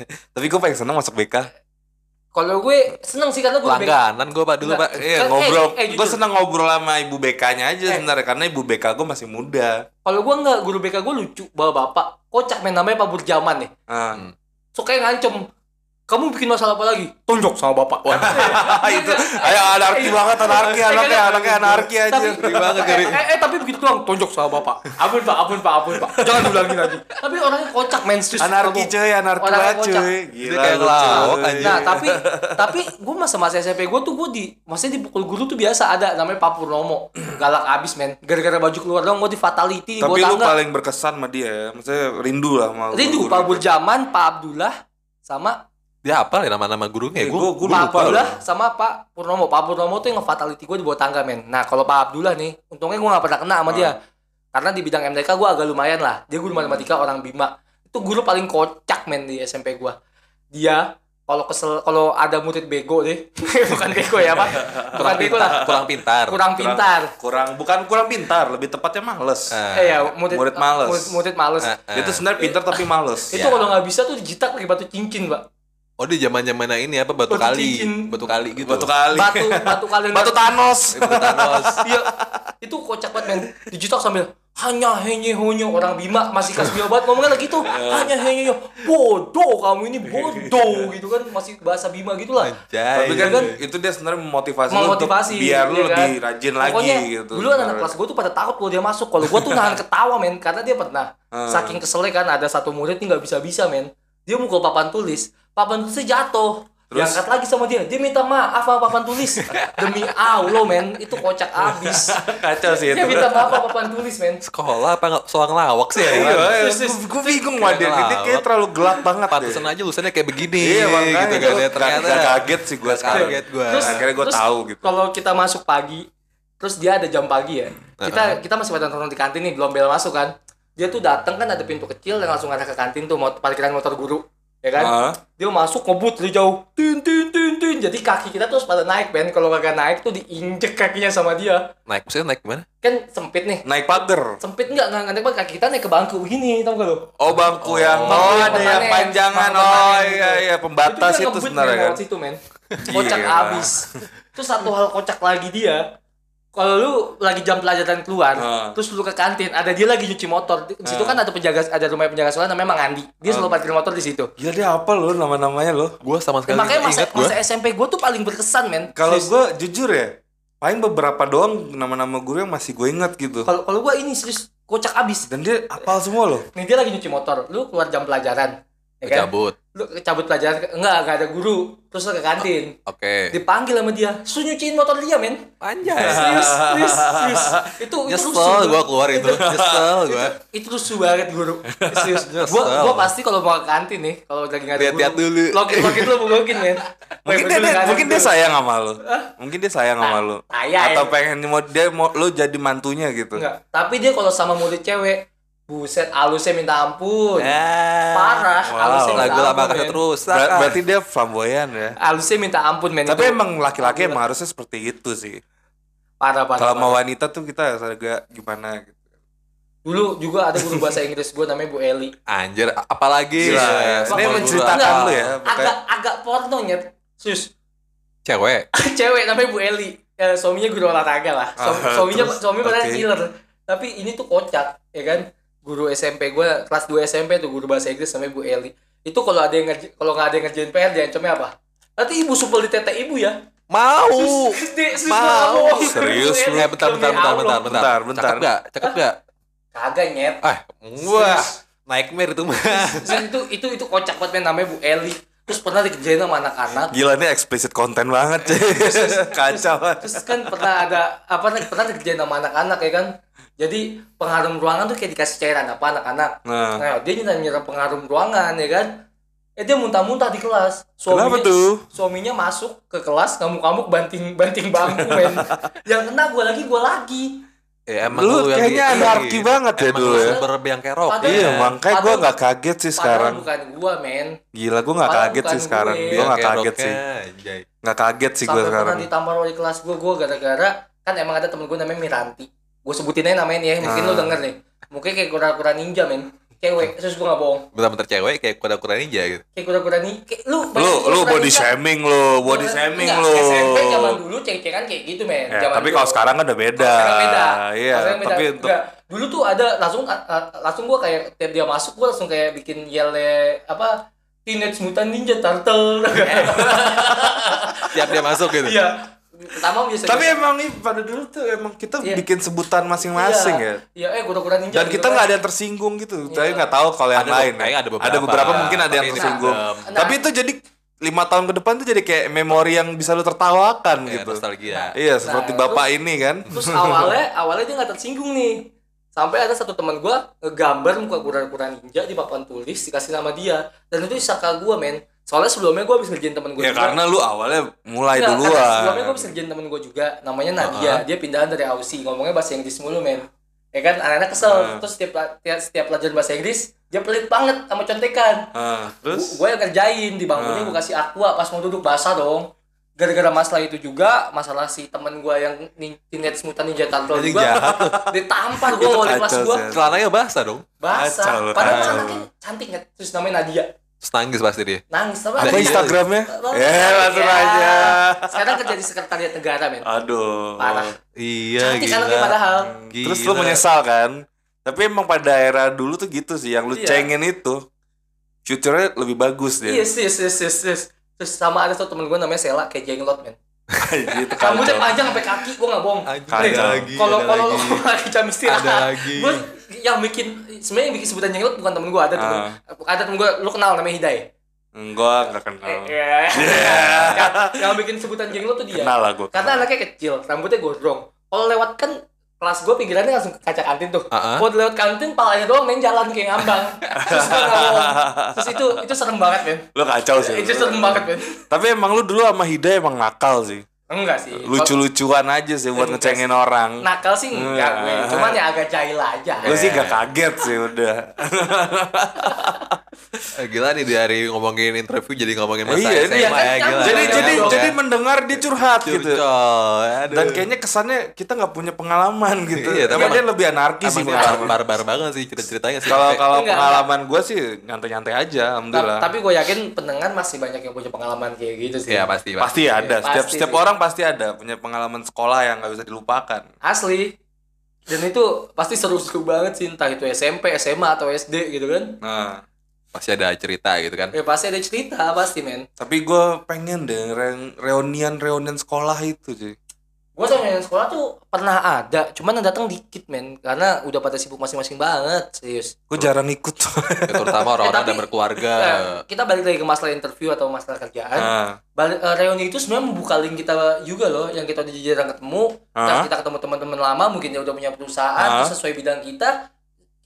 B: Tapi gue pengen seneng masuk BK.
D: Kalau gue seneng sih karena gue BK.
C: Langganan gue pak dulu
D: Enggak.
C: pak.
B: Iya
D: Eh,
B: ngobrol.
D: eh, eh,
B: gue
D: jujur.
B: seneng ngobrol sama ibu BK-nya aja
D: Eh.
B: sebenarnya karena ibu BK gue masih muda.
D: Kalau gue nggak guru BK gue lucu, bawa bapak, kocak main namanya Pak Burjaman nih.
B: Ah.
C: Hmm.
D: Suka yang ngancem, kamu bikin masalah apa lagi? Tonjok sama bapak.
B: Ah, itu ayo anarki
D: Iya.
B: banget anarki
D: Eh,
B: anaknya
D: kadang-
B: anaknya anarki aja.
D: Tapi- eh, eh, eh, tapi begitu doang tonjok sama bapak. Ampun pak, ampun pak, ampun pak. Jangan diulangi lagi. Tapi orangnya kocak main serius.
B: Anarki cuy, anarki
D: Orangnya
B: banget
D: kocak.
B: cuy.
C: Dia kayak ngelawak
B: cuy.
C: aja.
D: Nah, tapi tapi gue masa-masa SMP gue tuh gue di maksudnya dipukul guru tuh biasa ada namanya Pak Purnomo. Galak abis men. Gara-gara baju keluar dong gue di fatality, gue
B: Tapi lu
D: tangga.
B: paling berkesan sama dia ya. Maksudnya rindu lah sama
D: Rindu Pak Burjaman, Pak Abdullah sama
C: Dia apa ya nama-nama gurunya?
B: Eh,
C: Gue
B: gua- gua
C: gue lupa.
D: Pak
C: loh.
D: Abdullah sama Pak Purnomo. Pak Purnomo tuh yang ngefatality gue di bawah tangga men. Nah, kalau Pak Abdullah nih, untungnya gue gak pernah kena sama dia. Karena di bidang MTK gue agak lumayan lah. Dia guru matematika orang Bima. Itu guru paling kocak men di SMP gue. Dia kalau kesel kalau ada murid bego deh bukan bego ya pak bukan
C: Kurang
D: bego
C: pintar.
D: lah
C: Kurang pintar.
D: kurang pintar.
B: Kurang bukan kurang pintar, lebih tepatnya males.
C: Eh.
D: Eh, ya, murid,
B: Murid males.
D: Murid, murid males.
C: Eh, eh.
B: Dia tuh sebenarnya pintar tapi males. Iya.
D: Itu
C: Ya.
D: kalau nggak bisa tuh dijitak pakai batu cincin, Pak.
C: Oh di zaman zaman ini apa batu
D: Batu
C: kali,
D: cincin.
C: batu kali gitu.
B: Batu kali.
D: Batu batu kalian
B: Batu Thanos.
C: Eh, Batu Thanos.
D: Iya. Itu kocak banget, men. Dijitak sambil hanya henye honyo orang Bima masih kasbio banget ngomongnya lagi tuh
B: Iya.
D: hanya henye honyo. bodoh kamu ini
B: Iya.
D: bodoh gitu kan masih bahasa Bima gitu lah
C: Anjay.
B: Tapi kan
D: kan-
B: itu dia sebenarnya memotivasi, iya lu untuk
D: memotivasi
B: biar lu
D: ya kan?
B: lebih rajin lagi
D: Pokoknya
B: gitu.
D: dulu anak kelas gue tuh pada takut kalau dia masuk kalau gue tuh nahan ketawa men karena dia pernah
B: Hmm.
D: saking keselnya kan ada satu murid nih nggak bisa bisa men dia mukul papan tulis papan tulisnya jatuh
B: Terus?
D: diangkat lagi sama dia dia minta maaf sama papan tulis demi Allah men itu kocak abis
B: kacau sih itu.
D: dia minta maaf sama papan tulis men
C: sekolah apa nggak- soal ngelawak sih ya kan?
B: Iya, gue bingung wah dia ini kayak terlalu gelap banget deh.
C: pantesan aja lusannya kayak begini
B: Iya, makanya
C: gitu kan ya
B: gua gak-
C: ternyata
B: gak kaget sih gua
C: Gak
B: sekarang.
C: kaget gua
D: Terus-
B: akhirnya gue tahu gitu.
D: kalau kita masuk pagi terus dia ada jam pagi ya kita kita masih pada nonton di kantin nih belum bel masuk kan dia tuh datang kan ada pintu kecil dan langsung arah ke kantin tuh mau parkiran motor guru ya kan
B: Heeh.
D: dia masuk ngebut dari jauh tin tin tin tin jadi kaki kita terus pada naik Ben kalau kagak naik tuh diinjek kakinya sama dia
C: naik maksudnya naik gimana
D: kan sempit nih
B: Naik pagar.
D: sempit nggak nggak naik banget kaki kita naik ke bangku begini tau gak lo
B: Oh bangku yang
D: Bangku
B: oh
D: yang
B: ada yang
D: permanen,
B: panjangan
D: bangku
B: oh
D: permanen
B: iya
D: gitu.
B: iya pembatas
D: dia
B: itu
D: ngebut,
B: sebenarnya
D: men,
B: kan.
D: lewat situ men kocak
B: Gila.
D: abis terus satu hal kocak lagi dia kalau lu lagi jam pelajaran keluar
B: Heeh.
D: terus lu ke kantin ada dia lagi nyuci motor di di situ
B: Heeh.
D: kan ada penjaga ada rumah penjaga sekolah namanya Mang Andi dia
B: Ah.
D: selalu parkir motor di situ
B: Gila Iya, dia apa lo nama-namanya lo?
C: gue sama
D: Eh,
C: sekali
D: makanya masa,
C: ingat gue
D: masa SMP gue tuh paling berkesan men
B: Kalau
D: Serius.
B: gue jujur ya, paling beberapa doang nama-nama guru yang masih gue ingat gitu.
D: kalau kalau gue ini serius kocak abis
B: Dan dia apal semua lo.
D: nih dia lagi nyuci motor lu keluar jam pelajaran ya kan
C: cabut
D: lu cabut pelajaran enggak enggak ada guru terus lu ke kantin
C: oke
B: Ah.
D: dipanggil sama dia suruh nyuciin motor dia men
C: panjang
D: serius serius serius itu itu
C: nyesel gue keluar itu nyesel gue
D: itu lucu banget guru serius
C: Nyesel.
D: gua gua pasti kalau mau ke kantin nih kalau lagi nggak ada
C: Lihat-lihat
D: guru,
C: dulu.
D: login login lu mungkin men
B: Mungkin dia, dia- mungkin dia sayang sama lo. Mungkin dia sayang sama lo.
D: sayang.
B: Atau pengen mau dia mau lo jadi mantunya gitu.
D: ya. enggak tapi dia kalau sama murid cewek buset alusnya minta ampun
B: Eh,
D: Parah,
B: Wow.
D: alusnya
B: Ber-
C: lagu lama
D: Ampun,
C: kasih
D: ya.
C: terus Saka.
B: berarti dia flamboyan ya.
D: alusnya minta ampun men
B: Tapi
D: Itu
B: emang laki-laki emang harusnya seperti itu sih.
D: parah parah
B: Kalau
D: parah.
B: sama wanita tuh kita harus agak gimana gitu.
D: dulu juga ada guru bahasa Inggris gua namanya Bu Eli
C: anjir apalagi
B: Gila,
C: ya,
B: ya.
C: sama
B: Ini
C: guru
B: menceritakan
C: apa.
B: lu ya.
D: agak agak porno nyet sus
C: cewek
D: cewek namanya Bu Eli Eh, suaminya guru olahraga lah Suami-
B: Ah,
D: suaminya
B: terus?
D: suami padahal
B: Oke.
D: killer tapi ini tuh kocak ya kan guru SMP gue kelas 2 SMP tuh guru bahasa Inggris namanya Bu Eli itu kalau ada yang ngerj- kalau nggak ada yang ngerjain PR diancamnya apa nanti ibu supel di tete ibu ya
C: mau
D: Sus- gede, sus,
C: mau
D: mau.
B: Serius lu?
C: Oh,
D: Eli,
C: eh bentar bentar
D: demi
C: bentar
D: Allah.
C: bentar bentar
B: Bentar, bentar.
C: cakep gak cakep gak
D: kagak nyet
C: eh wah nightmare itu mah
D: Terus itu itu itu kocak banget men, namanya Bu Eli terus pernah dikerjain sama anak-anak
B: Gila ini explicit konten banget cuy. Kacau banget.
D: terus kan pernah ada apa pernah dikerjain sama anak-anak ya kan jadi pengharum ruangan tuh kayak dikasih cairan apa anak-anak
B: Nah.
D: nah dia nyeram nyeram pengharum ruangan ya kan eh dia muntah-muntah di kelas
B: Kenapa tuh?
D: suaminya masuk ke kelas ngamuk-ngamuk banting banting bangku men yang kena gue lagi gue lagi
C: ya emang
B: Lu
C: yang
B: kayaknya
C: gitu.
B: anarki banget ya
C: Emang
B: dulu
C: lu
B: ya.
C: sumber yang kerok
D: Padahal-
B: Iya, makanya gue
D: Padahal-
B: nggak kaget sih sekarang.
D: Padahal bukan gue men
B: Gila, gue nggak
D: padahal
B: kaget
D: bukan
B: sih sekarang.
D: gue.
B: Gue nggak kaget
C: Keroknya,
B: sih.
C: anjay.
B: Nggak kaget sih gue
D: sampai
B: sekarang.
D: pernah ditampar oleh kelas gue gue gara-gara kan emang ada temen gue namanya Miranti gue sebutin aja namanya nih ya mungkin lo
B: Ah.
D: denger nih mungkin kayak kura-kura ninja men cewek terus gue gak bohong
C: bentar-bentar cewek kayak kuda-kuda ninja gitu
D: kayak kura-kura ninja kayak,
B: Lu lu
D: lu kura-kura
B: body
D: ninja.
B: shaming lu, body
D: Enggak,
B: shaming
D: enggak.
B: lu.
D: SMP zaman dulu cek-cekan kayak gitu men
B: Ya,
D: zaman
B: tapi
D: dulu.
B: kalau sekarang kan udah beda.
D: Kalau sekarang beda.
B: Iya,
D: Kalau sekarang beda.
B: tapi untuk
D: Enggak, dulu tuh ada langsung a- a- langsung gua kayak tiap dia masuk gua langsung kayak bikin yele apa Teenage Mutant Ninja Turtle.
C: tiap dia masuk gitu
D: Iya. Pertama biasanya
B: tapi emang nih pada dulu tuh emang kita
D: Iya.
B: bikin sebutan masing-masing
D: Iya.
B: ya.
D: Iya, eh kura-kura ninja.
B: Dan
D: gitu
B: kita
D: kan.
B: nggak ada yang tersinggung gitu. Saya nggak tahu kalau yang
C: Ada
B: lain. ya.
C: be- kayaknya ada beberapa.
B: mungkin ada
C: Tapi
B: yang
C: ini
B: tersinggung.
C: random.
D: Nah.
B: Tapi itu jadi lima tahun ke depan tuh jadi kayak memori yang bisa lu tertawakan
C: Ya,
B: gitu.
C: nostalgia
B: Iya, seperti
D: Nah,
B: bapak ini kan.
D: Terus awalnya awalnya dia nggak tersinggung nih. Sampai ada satu teman gua ngegambar muka kura-kura ninja di papan tulis dikasih nama dia. Dan itu saka gua, men. Soalnya sebelumnya gua habis ngerjain temen gua
B: Ya
D: juga.
B: karena lu awalnya mulai
D: Enggak,
B: duluan. Ah.
D: karena Sebelumnya gue bisa kerjain temen gue juga, namanya Nadia.
C: Heeh.
D: Dia pindahan dari Aussie, ngomongnya bahasa Inggris mulu men. Ya kan, anak-anak kesel.
B: Heeh.
D: Terus setiap, setiap, setiap pelajaran bahasa Inggris, dia pelit banget sama contekan.
B: Ah, terus Ah.
D: Gue yang kerjain, di bangkunya
B: Heeh.
D: gue kasih aqua, pas mau duduk basah dong. Gara-gara masalah itu juga, masalah si temen gue yang nin- teenage mutant ninja turtle
B: Anjing
D: juga,
B: jahat.
D: ditampar gue
B: Itu
D: oleh kelas
B: kacau,
D: gue.
B: Sen.
C: celananya basah dong
B: Kacau
D: Basah.
B: lu,
D: Padahal
B: kacau.
D: anaknya cantik ya. Terus namanya Nadia.
C: Terus nangis pasti dia
D: Nangis. tapi
B: apa
D: anaknya-
B: Instagramnya?
D: Iya.
B: Ya, langsung aja.
D: Sekarang kerja di sekretariat
B: Ah,
D: negara men.
B: Aduh.
D: Parah.
C: iya
D: Cantik anaknya padahal.
C: Gila.
B: Terus lu menyesal kan? Tapi emang pada era dulu tuh gitu sih, yang lu
D: Iya.
B: cengin itu future-nya lebih bagus ya. dia.
D: Yes, yes, yes, yes, yes. Terus sama ada tuh temen gue namanya Sela kayak jenglot men.
B: gitu
D: Rambutnya
B: kacau.
D: panjang sampai kaki, gue nggak bohong.
C: Anjing,
D: Nih,
B: ada
C: lagi,
D: Kalau
C: ada
D: kalau
C: lagi.
D: lo lagi jam istirahat,
C: Ada lagi.
D: Gue yang bikin sebenarnya yang bikin sebutan jenglot bukan temen gue ada temen.
B: Ah.
D: Ada temen gue, lu kenal namanya Hidayah.
B: Enggak, enggak kenal.
D: Eh, yang, yang bikin sebutan jenglot tuh dia.
B: Kenal lah gue.
D: Karena anaknya kecil, rambutnya gondrong. Kalau lewat kan kelas gue pinggirannya langsung ke kaca kantin tuh.
C: Ah, ah.
D: Kalau lewat kantin, palanya doang main jalan kayak ngambang. Terus gua nggak bohong. Terus itu itu serem banget men.
B: lu kacau sih.
D: Itu serem banget men.
B: Tapi emang lu dulu sama Hida emang nakal sih.
D: Enggak sih. Kalau
B: Lucu-lucuan aja sih buat
D: Enggak
B: ngecengin orang.
D: Nakal sih enggak gue.
B: Enggak.
D: Cuman ya agak jahil aja.
B: Gue Ah. sih gak kaget sih udah.
C: Eh, Gila nih dari ngomongin interview jadi ngomongin masa
B: Iya, ini
C: SMA ya,
D: ya kan,
C: gila.
B: jadi
D: Iya,
B: jadi
D: iya.
B: jadi mendengar dia curhat gitu.
C: Curcol, aduh.
B: Dan kayaknya kesannya kita nggak punya pengalaman gitu.
C: Iya, tapi
B: Kayaknya
C: emang-
B: lebih anarkis sih
C: Abangnya
B: pengalaman.
C: barbar banget sih cerita-ceritanya sih.
B: Kalau kalau
D: Enggak,
B: pengalaman gue sih nyantai-nyantai aja, alhamdulillah.
D: Ta- Tapi gue yakin pendengar masih banyak yang punya pengalaman kayak gitu sih.
C: ya pasti pasti.
B: Iya, pasti ada.
D: Pasti
B: setiap
D: sih.
B: setiap orang pasti ada punya pengalaman sekolah yang nggak bisa dilupakan.
D: Asli. Dan itu pasti seru-seru banget sih entah itu SMP, SMA atau SD gitu kan.
B: Nah,
C: Pasti ada cerita gitu kan.
D: Ya pasti ada cerita pasti men.
B: tapi gue pengen deh re- reunian-reunian sekolah itu sih.
D: Gue tuh yang sekolah tuh pernah ada, cuman yang datang dikit men, karena udah pada sibuk masing-masing banget serius.
B: Gue jarang ikut.
C: Ya, terutama orang-orang
D: Eh, tapi-
C: yang berkeluarga.
D: Nah, kita balik lagi ke masalah interview atau masalah kerjaan.
B: nah,
D: Balik, eh, reuni itu sebenarnya membuka link kita juga loh, yang kita udah jarang ketemu, terus
B: Ah.
D: kita ketemu teman-teman lama, mungkin dia udah punya perusahaan,
B: Ah.
D: terus sesuai bidang kita,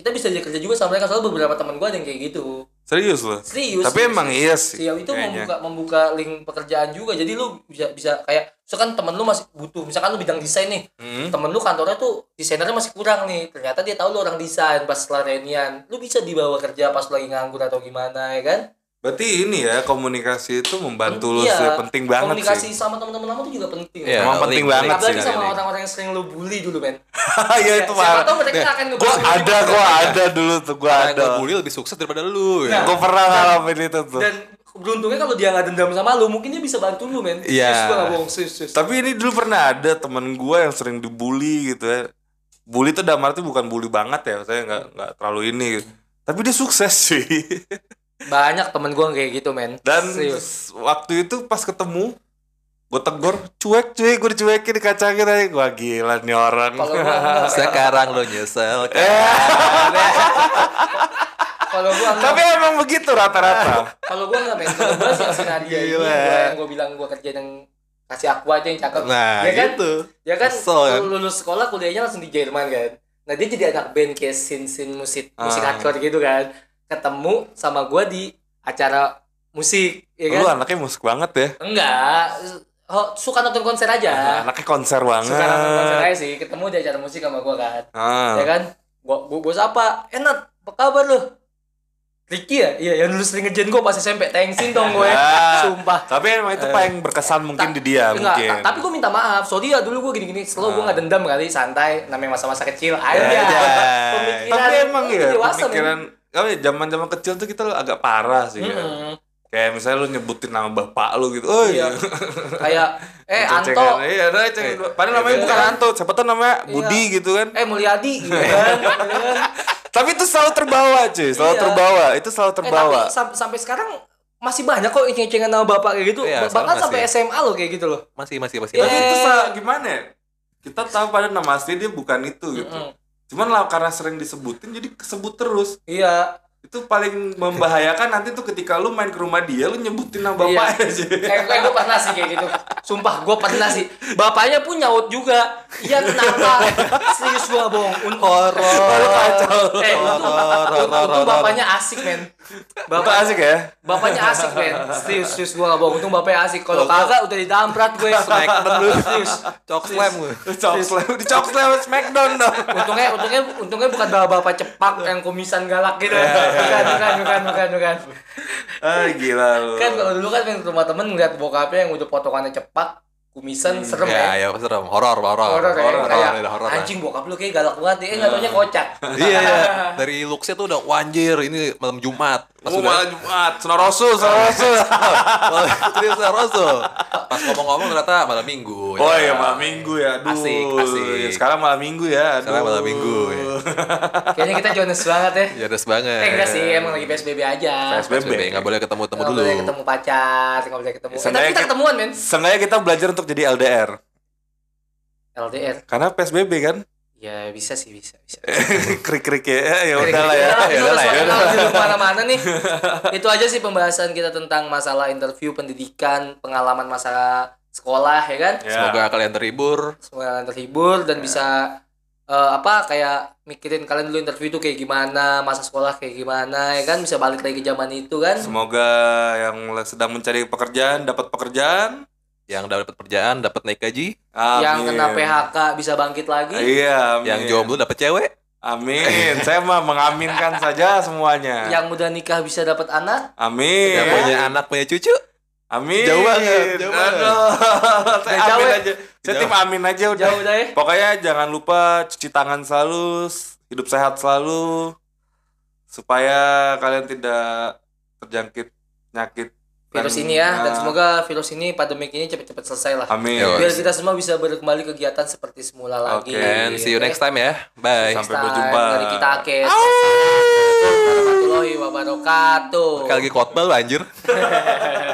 D: kita bisa jadi kerja juga sama mereka soalnya beberapa teman gue ada yang kayak gitu.
B: serius loh.
D: Serius.
B: Tapi
D: serius.
B: emang iya sih.
D: Siap itu
B: kayaknya.
D: membuka membuka link pekerjaan juga. Jadi lu bisa bisa kayak misalkan temen lu masih butuh, misalkan lu bidang desain nih.
B: Hmm.
D: Temen lu kantornya tuh desainernya masih kurang nih. Ternyata dia tahu lu orang desain pas setelah reunian. Lu bisa dibawa kerja pas lu lagi nganggur atau gimana ya kan?
B: Berarti ini ya komunikasi itu membantu lu
D: Iya,
B: sih, penting banget sih.
D: Komunikasi sama temen-temen lama tuh juga penting.
C: Iya,
B: Emang penting banget
C: link-link
D: Apalagi
B: sih.
D: sama orang-orang yang sering lu bully dulu, men.
B: Iya itu
D: Siapa
B: mah.
D: tahu mereka akan ngebully.
B: Gue ada, gue ada dulu tuh, gue
C: Orang yang
B: ada.
C: ngebully Nah, lebih sukses daripada lu ya.
D: Nah,
B: Gue pernah ngalamin itu tuh.
D: Dan beruntungnya kalau dia nggak dendam sama lu, mungkin dia bisa bantu lu,
C: Iya.
D: men. Serius, gua nggak bohong, serius, serius.
B: Tapi ini dulu pernah ada temen gue yang sering dibully gitu ya. Bully tuh dalam arti bukan bully banget ya, saya nggak nggak terlalu ini. Gitu. Tapi dia sukses sih.
D: Banyak temen gua yang kayak gitu, men.
B: Dan
D: serius.
B: waktu itu pas ketemu, gue tegur, cuek cuy, gue dicuekin dikacangin aja. Gue gila nih orang.
D: Kalau gua enggak, men.
C: Sekarang lu
B: Eh,
C: nyesel kan?
D: kalau gua enggak.
B: Tapi emang begitu rata-rata.
D: kalau gue nggak main kalau gue sih si Nadia ini
C: Gila.
D: gua yang gue bilang gue kerja yang kasih aku aja yang cakep
C: Nah,
D: ya kan
C: gitu.
D: ya kan
C: Kesel, kan?
D: lu lulus sekolah kuliahnya langsung di Jerman kan nah dia jadi anak band kayak sin sin musik musik
B: Ah.
D: hardcore gitu kan ketemu sama gue di acara musik ya
B: Lu
D: kan
B: anaknya musik banget ya.
D: enggak ho- suka nonton konser aja
B: Anaknya konser banget.
D: Iya. suka nonton konser aja sih ketemu di acara musik sama gue kan
B: Ah.
D: ya kan gua, gua bos apa enak apa kabar lu Ricky ya? Iya, yang lulus sering ngejain gue pas SMP. Thanksin dong gue.
B: Ah.
D: Sumpah.
B: Tapi emang itu paling berkesan mungkin
D: Eh. Ta-
B: di dia
D: Enggak,
B: mungkin. Ah.
D: ta- tapi gue minta maaf. Sorry ya dulu gue gini-gini. Slow gue gak dendam kali, santai. Namanya masa-masa kecil. Aja.
C: Aja.
D: Pemikiran.
B: Ya, Iya. Tapi emang
D: lu
B: ya
D: dewasa,
B: pemikiran
D: men.
B: kami zaman-zaman kecil tuh kita agak parah sih ya.
D: Mm-mm.
B: Kayak misalnya lu nyebutin nama bapak lu gitu. Oh
D: Iya.
B: iya.
D: Kayak eh Anto,
B: Cengengan. Iya, ada cengengan. Padahal namanya
D: Iya.
B: bukan Anto, siapa tahu namanya Budi gitu kan.
D: eh Mulyadi gitu kan.
B: Tapi itu selalu terbawa, cuy. Selalu
D: Iya.
B: terbawa. Itu selalu
D: eh, tapi
B: terbawa.
D: sam- sampai sekarang masih banyak kok ceng-cengan nama bapak kayak gitu.
C: Iya,
D: Bahkan
C: sekarang
D: sampai
C: masih.
D: SMA loh kayak gitu loh.
C: Masih masih masih.
B: Tapi
C: masih.
B: itu
D: Eh.
B: sa- gimana ya? Kita tahu pada nama asli dia bukan itu gitu.
D: Mm-mm.
B: Cuman lah karena sering disebutin jadi kesebut terus.
D: Iya.
B: itu paling membahayakan nanti tuh ketika lu main ke rumah dia lu nyebutin nama
D: Iya.
B: bapaknya sih
D: Kayak kayak gue pernah sih kayak gitu. Sumpah gue pernah sih. Bapaknya pun nyaut juga. Iya kenapa? Serius gue bohong. Untuk
C: Horor.
D: Eh, untung, untung bapaknya asik, men.
B: bapak
D: Bapak
B: asik ya
D: bapaknya asik, men. Serius, serius gua gak bohong. Untung bapaknya asik. Kalau kagak udah didamprat gue.
C: Smackdown lu.
D: Serius.
C: Cok slam lu.
B: Lu Cokslem, di Cokslem Smackdown dong
D: Untungnya, untungnya, untungnya bukan bapak-bapak cepak yang komisan galak gitu.
C: Iya,
D: Bukan, bukan, bukan, bukan, bukan.
B: ah gila lu
D: Kan kalau dulu kan main ke rumah temen ngeliat bokapnya yang udah potongannya cepak. kumisan serem
C: ya,
D: ya.
C: ya serem horor horor
D: Horor ya,
B: horor,
D: kayak
C: ada horor
D: anjing bokap lu kayak galak banget deh, eh, nggak taunya kocak.
C: iya iya dari looksnya tuh udah wanjir ini malam Jumat pas
B: Oh, malah
C: udah Oh,
B: Jumat, senorosu, senorosu.
C: Serius, Rasul. pas ngomong-ngomong ternyata malam Minggu
B: Oh iya malam minggu ya, aduh.
C: Asik, asik.
B: Sekarang malam minggu ya, aduh.
C: Sekarang malam minggu, ya.
D: Kayaknya kita Jonas banget ya.
C: Jonas banget
D: Eh enggak sih, emang lagi PSBB aja.
B: PSBB.
C: PSBB nggak boleh ketemu-temu
D: Nggak
C: dulu
D: boleh ketemu pacar, nggak boleh ketemu. Eh, tapi
B: Seenggaknya
D: kita
B: kita-
D: ketemuan men.
B: Seenggaknya kita belajar untuk jadi LDR.
D: LDR.
B: Karena PSBB kan,
D: Ya bisa sih, bisa, bisa.
B: krik-krik ya, eh, ya udahlah ya.
D: Udahlah,
C: Eh, ya
D: jurus
C: udahlah, ya
D: soal
C: udahlah.
D: jurus mana-mana nih. Itu aja sih pembahasan kita tentang masalah interview, pendidikan, pengalaman masa sekolah ya kan.
B: Ya.
C: semoga kalian terhibur
D: Semoga kalian terhibur dan
C: Iya.
D: bisa eh, apa kayak mikirin kalian dulu interview itu kayak gimana, masa sekolah kayak gimana ya kan bisa balik lagi ke zaman itu kan.
B: Semoga yang sedang mencari pekerjaan dapat pekerjaan.
C: yang dapat pekerjaan dapat naik gaji
B: Amin.
D: Yang kena PHK bisa bangkit lagi.
B: Iya, amin.
C: yang jomblo dapat cewek
B: Amin. Saya mah mengaminkan saja
C: Iya.
B: semuanya.
D: Yang udah nikah bisa dapat anak.
B: Amin.
C: yang punya anak punya cucu
B: Iya. Amin.
C: Jauh banget, jauh banget.
B: Aduh. Saya
D: Jauh
B: amin
D: ya.
B: aja. Saya
C: Jauh.
B: tim amin aja udah.
D: Jauh udah ya.
B: Pokoknya jangan lupa cuci tangan selalu, s- hidup sehat selalu supaya kalian tidak terjangkit penyakit
D: virus ini ya dan semoga virus ini pandemik ini cepat-cepat selesai lah
B: amin.
C: Yo.
D: biar kita semua bisa berkembali kegiatan seperti semula lagi
B: Oke.
C: and see you next time ya bye
B: Sampai
D: Next time
B: berjumpa.
D: dari kita Akes warahmatullahi wabarakatuh
C: Sekali lagi khotbah lu, anjir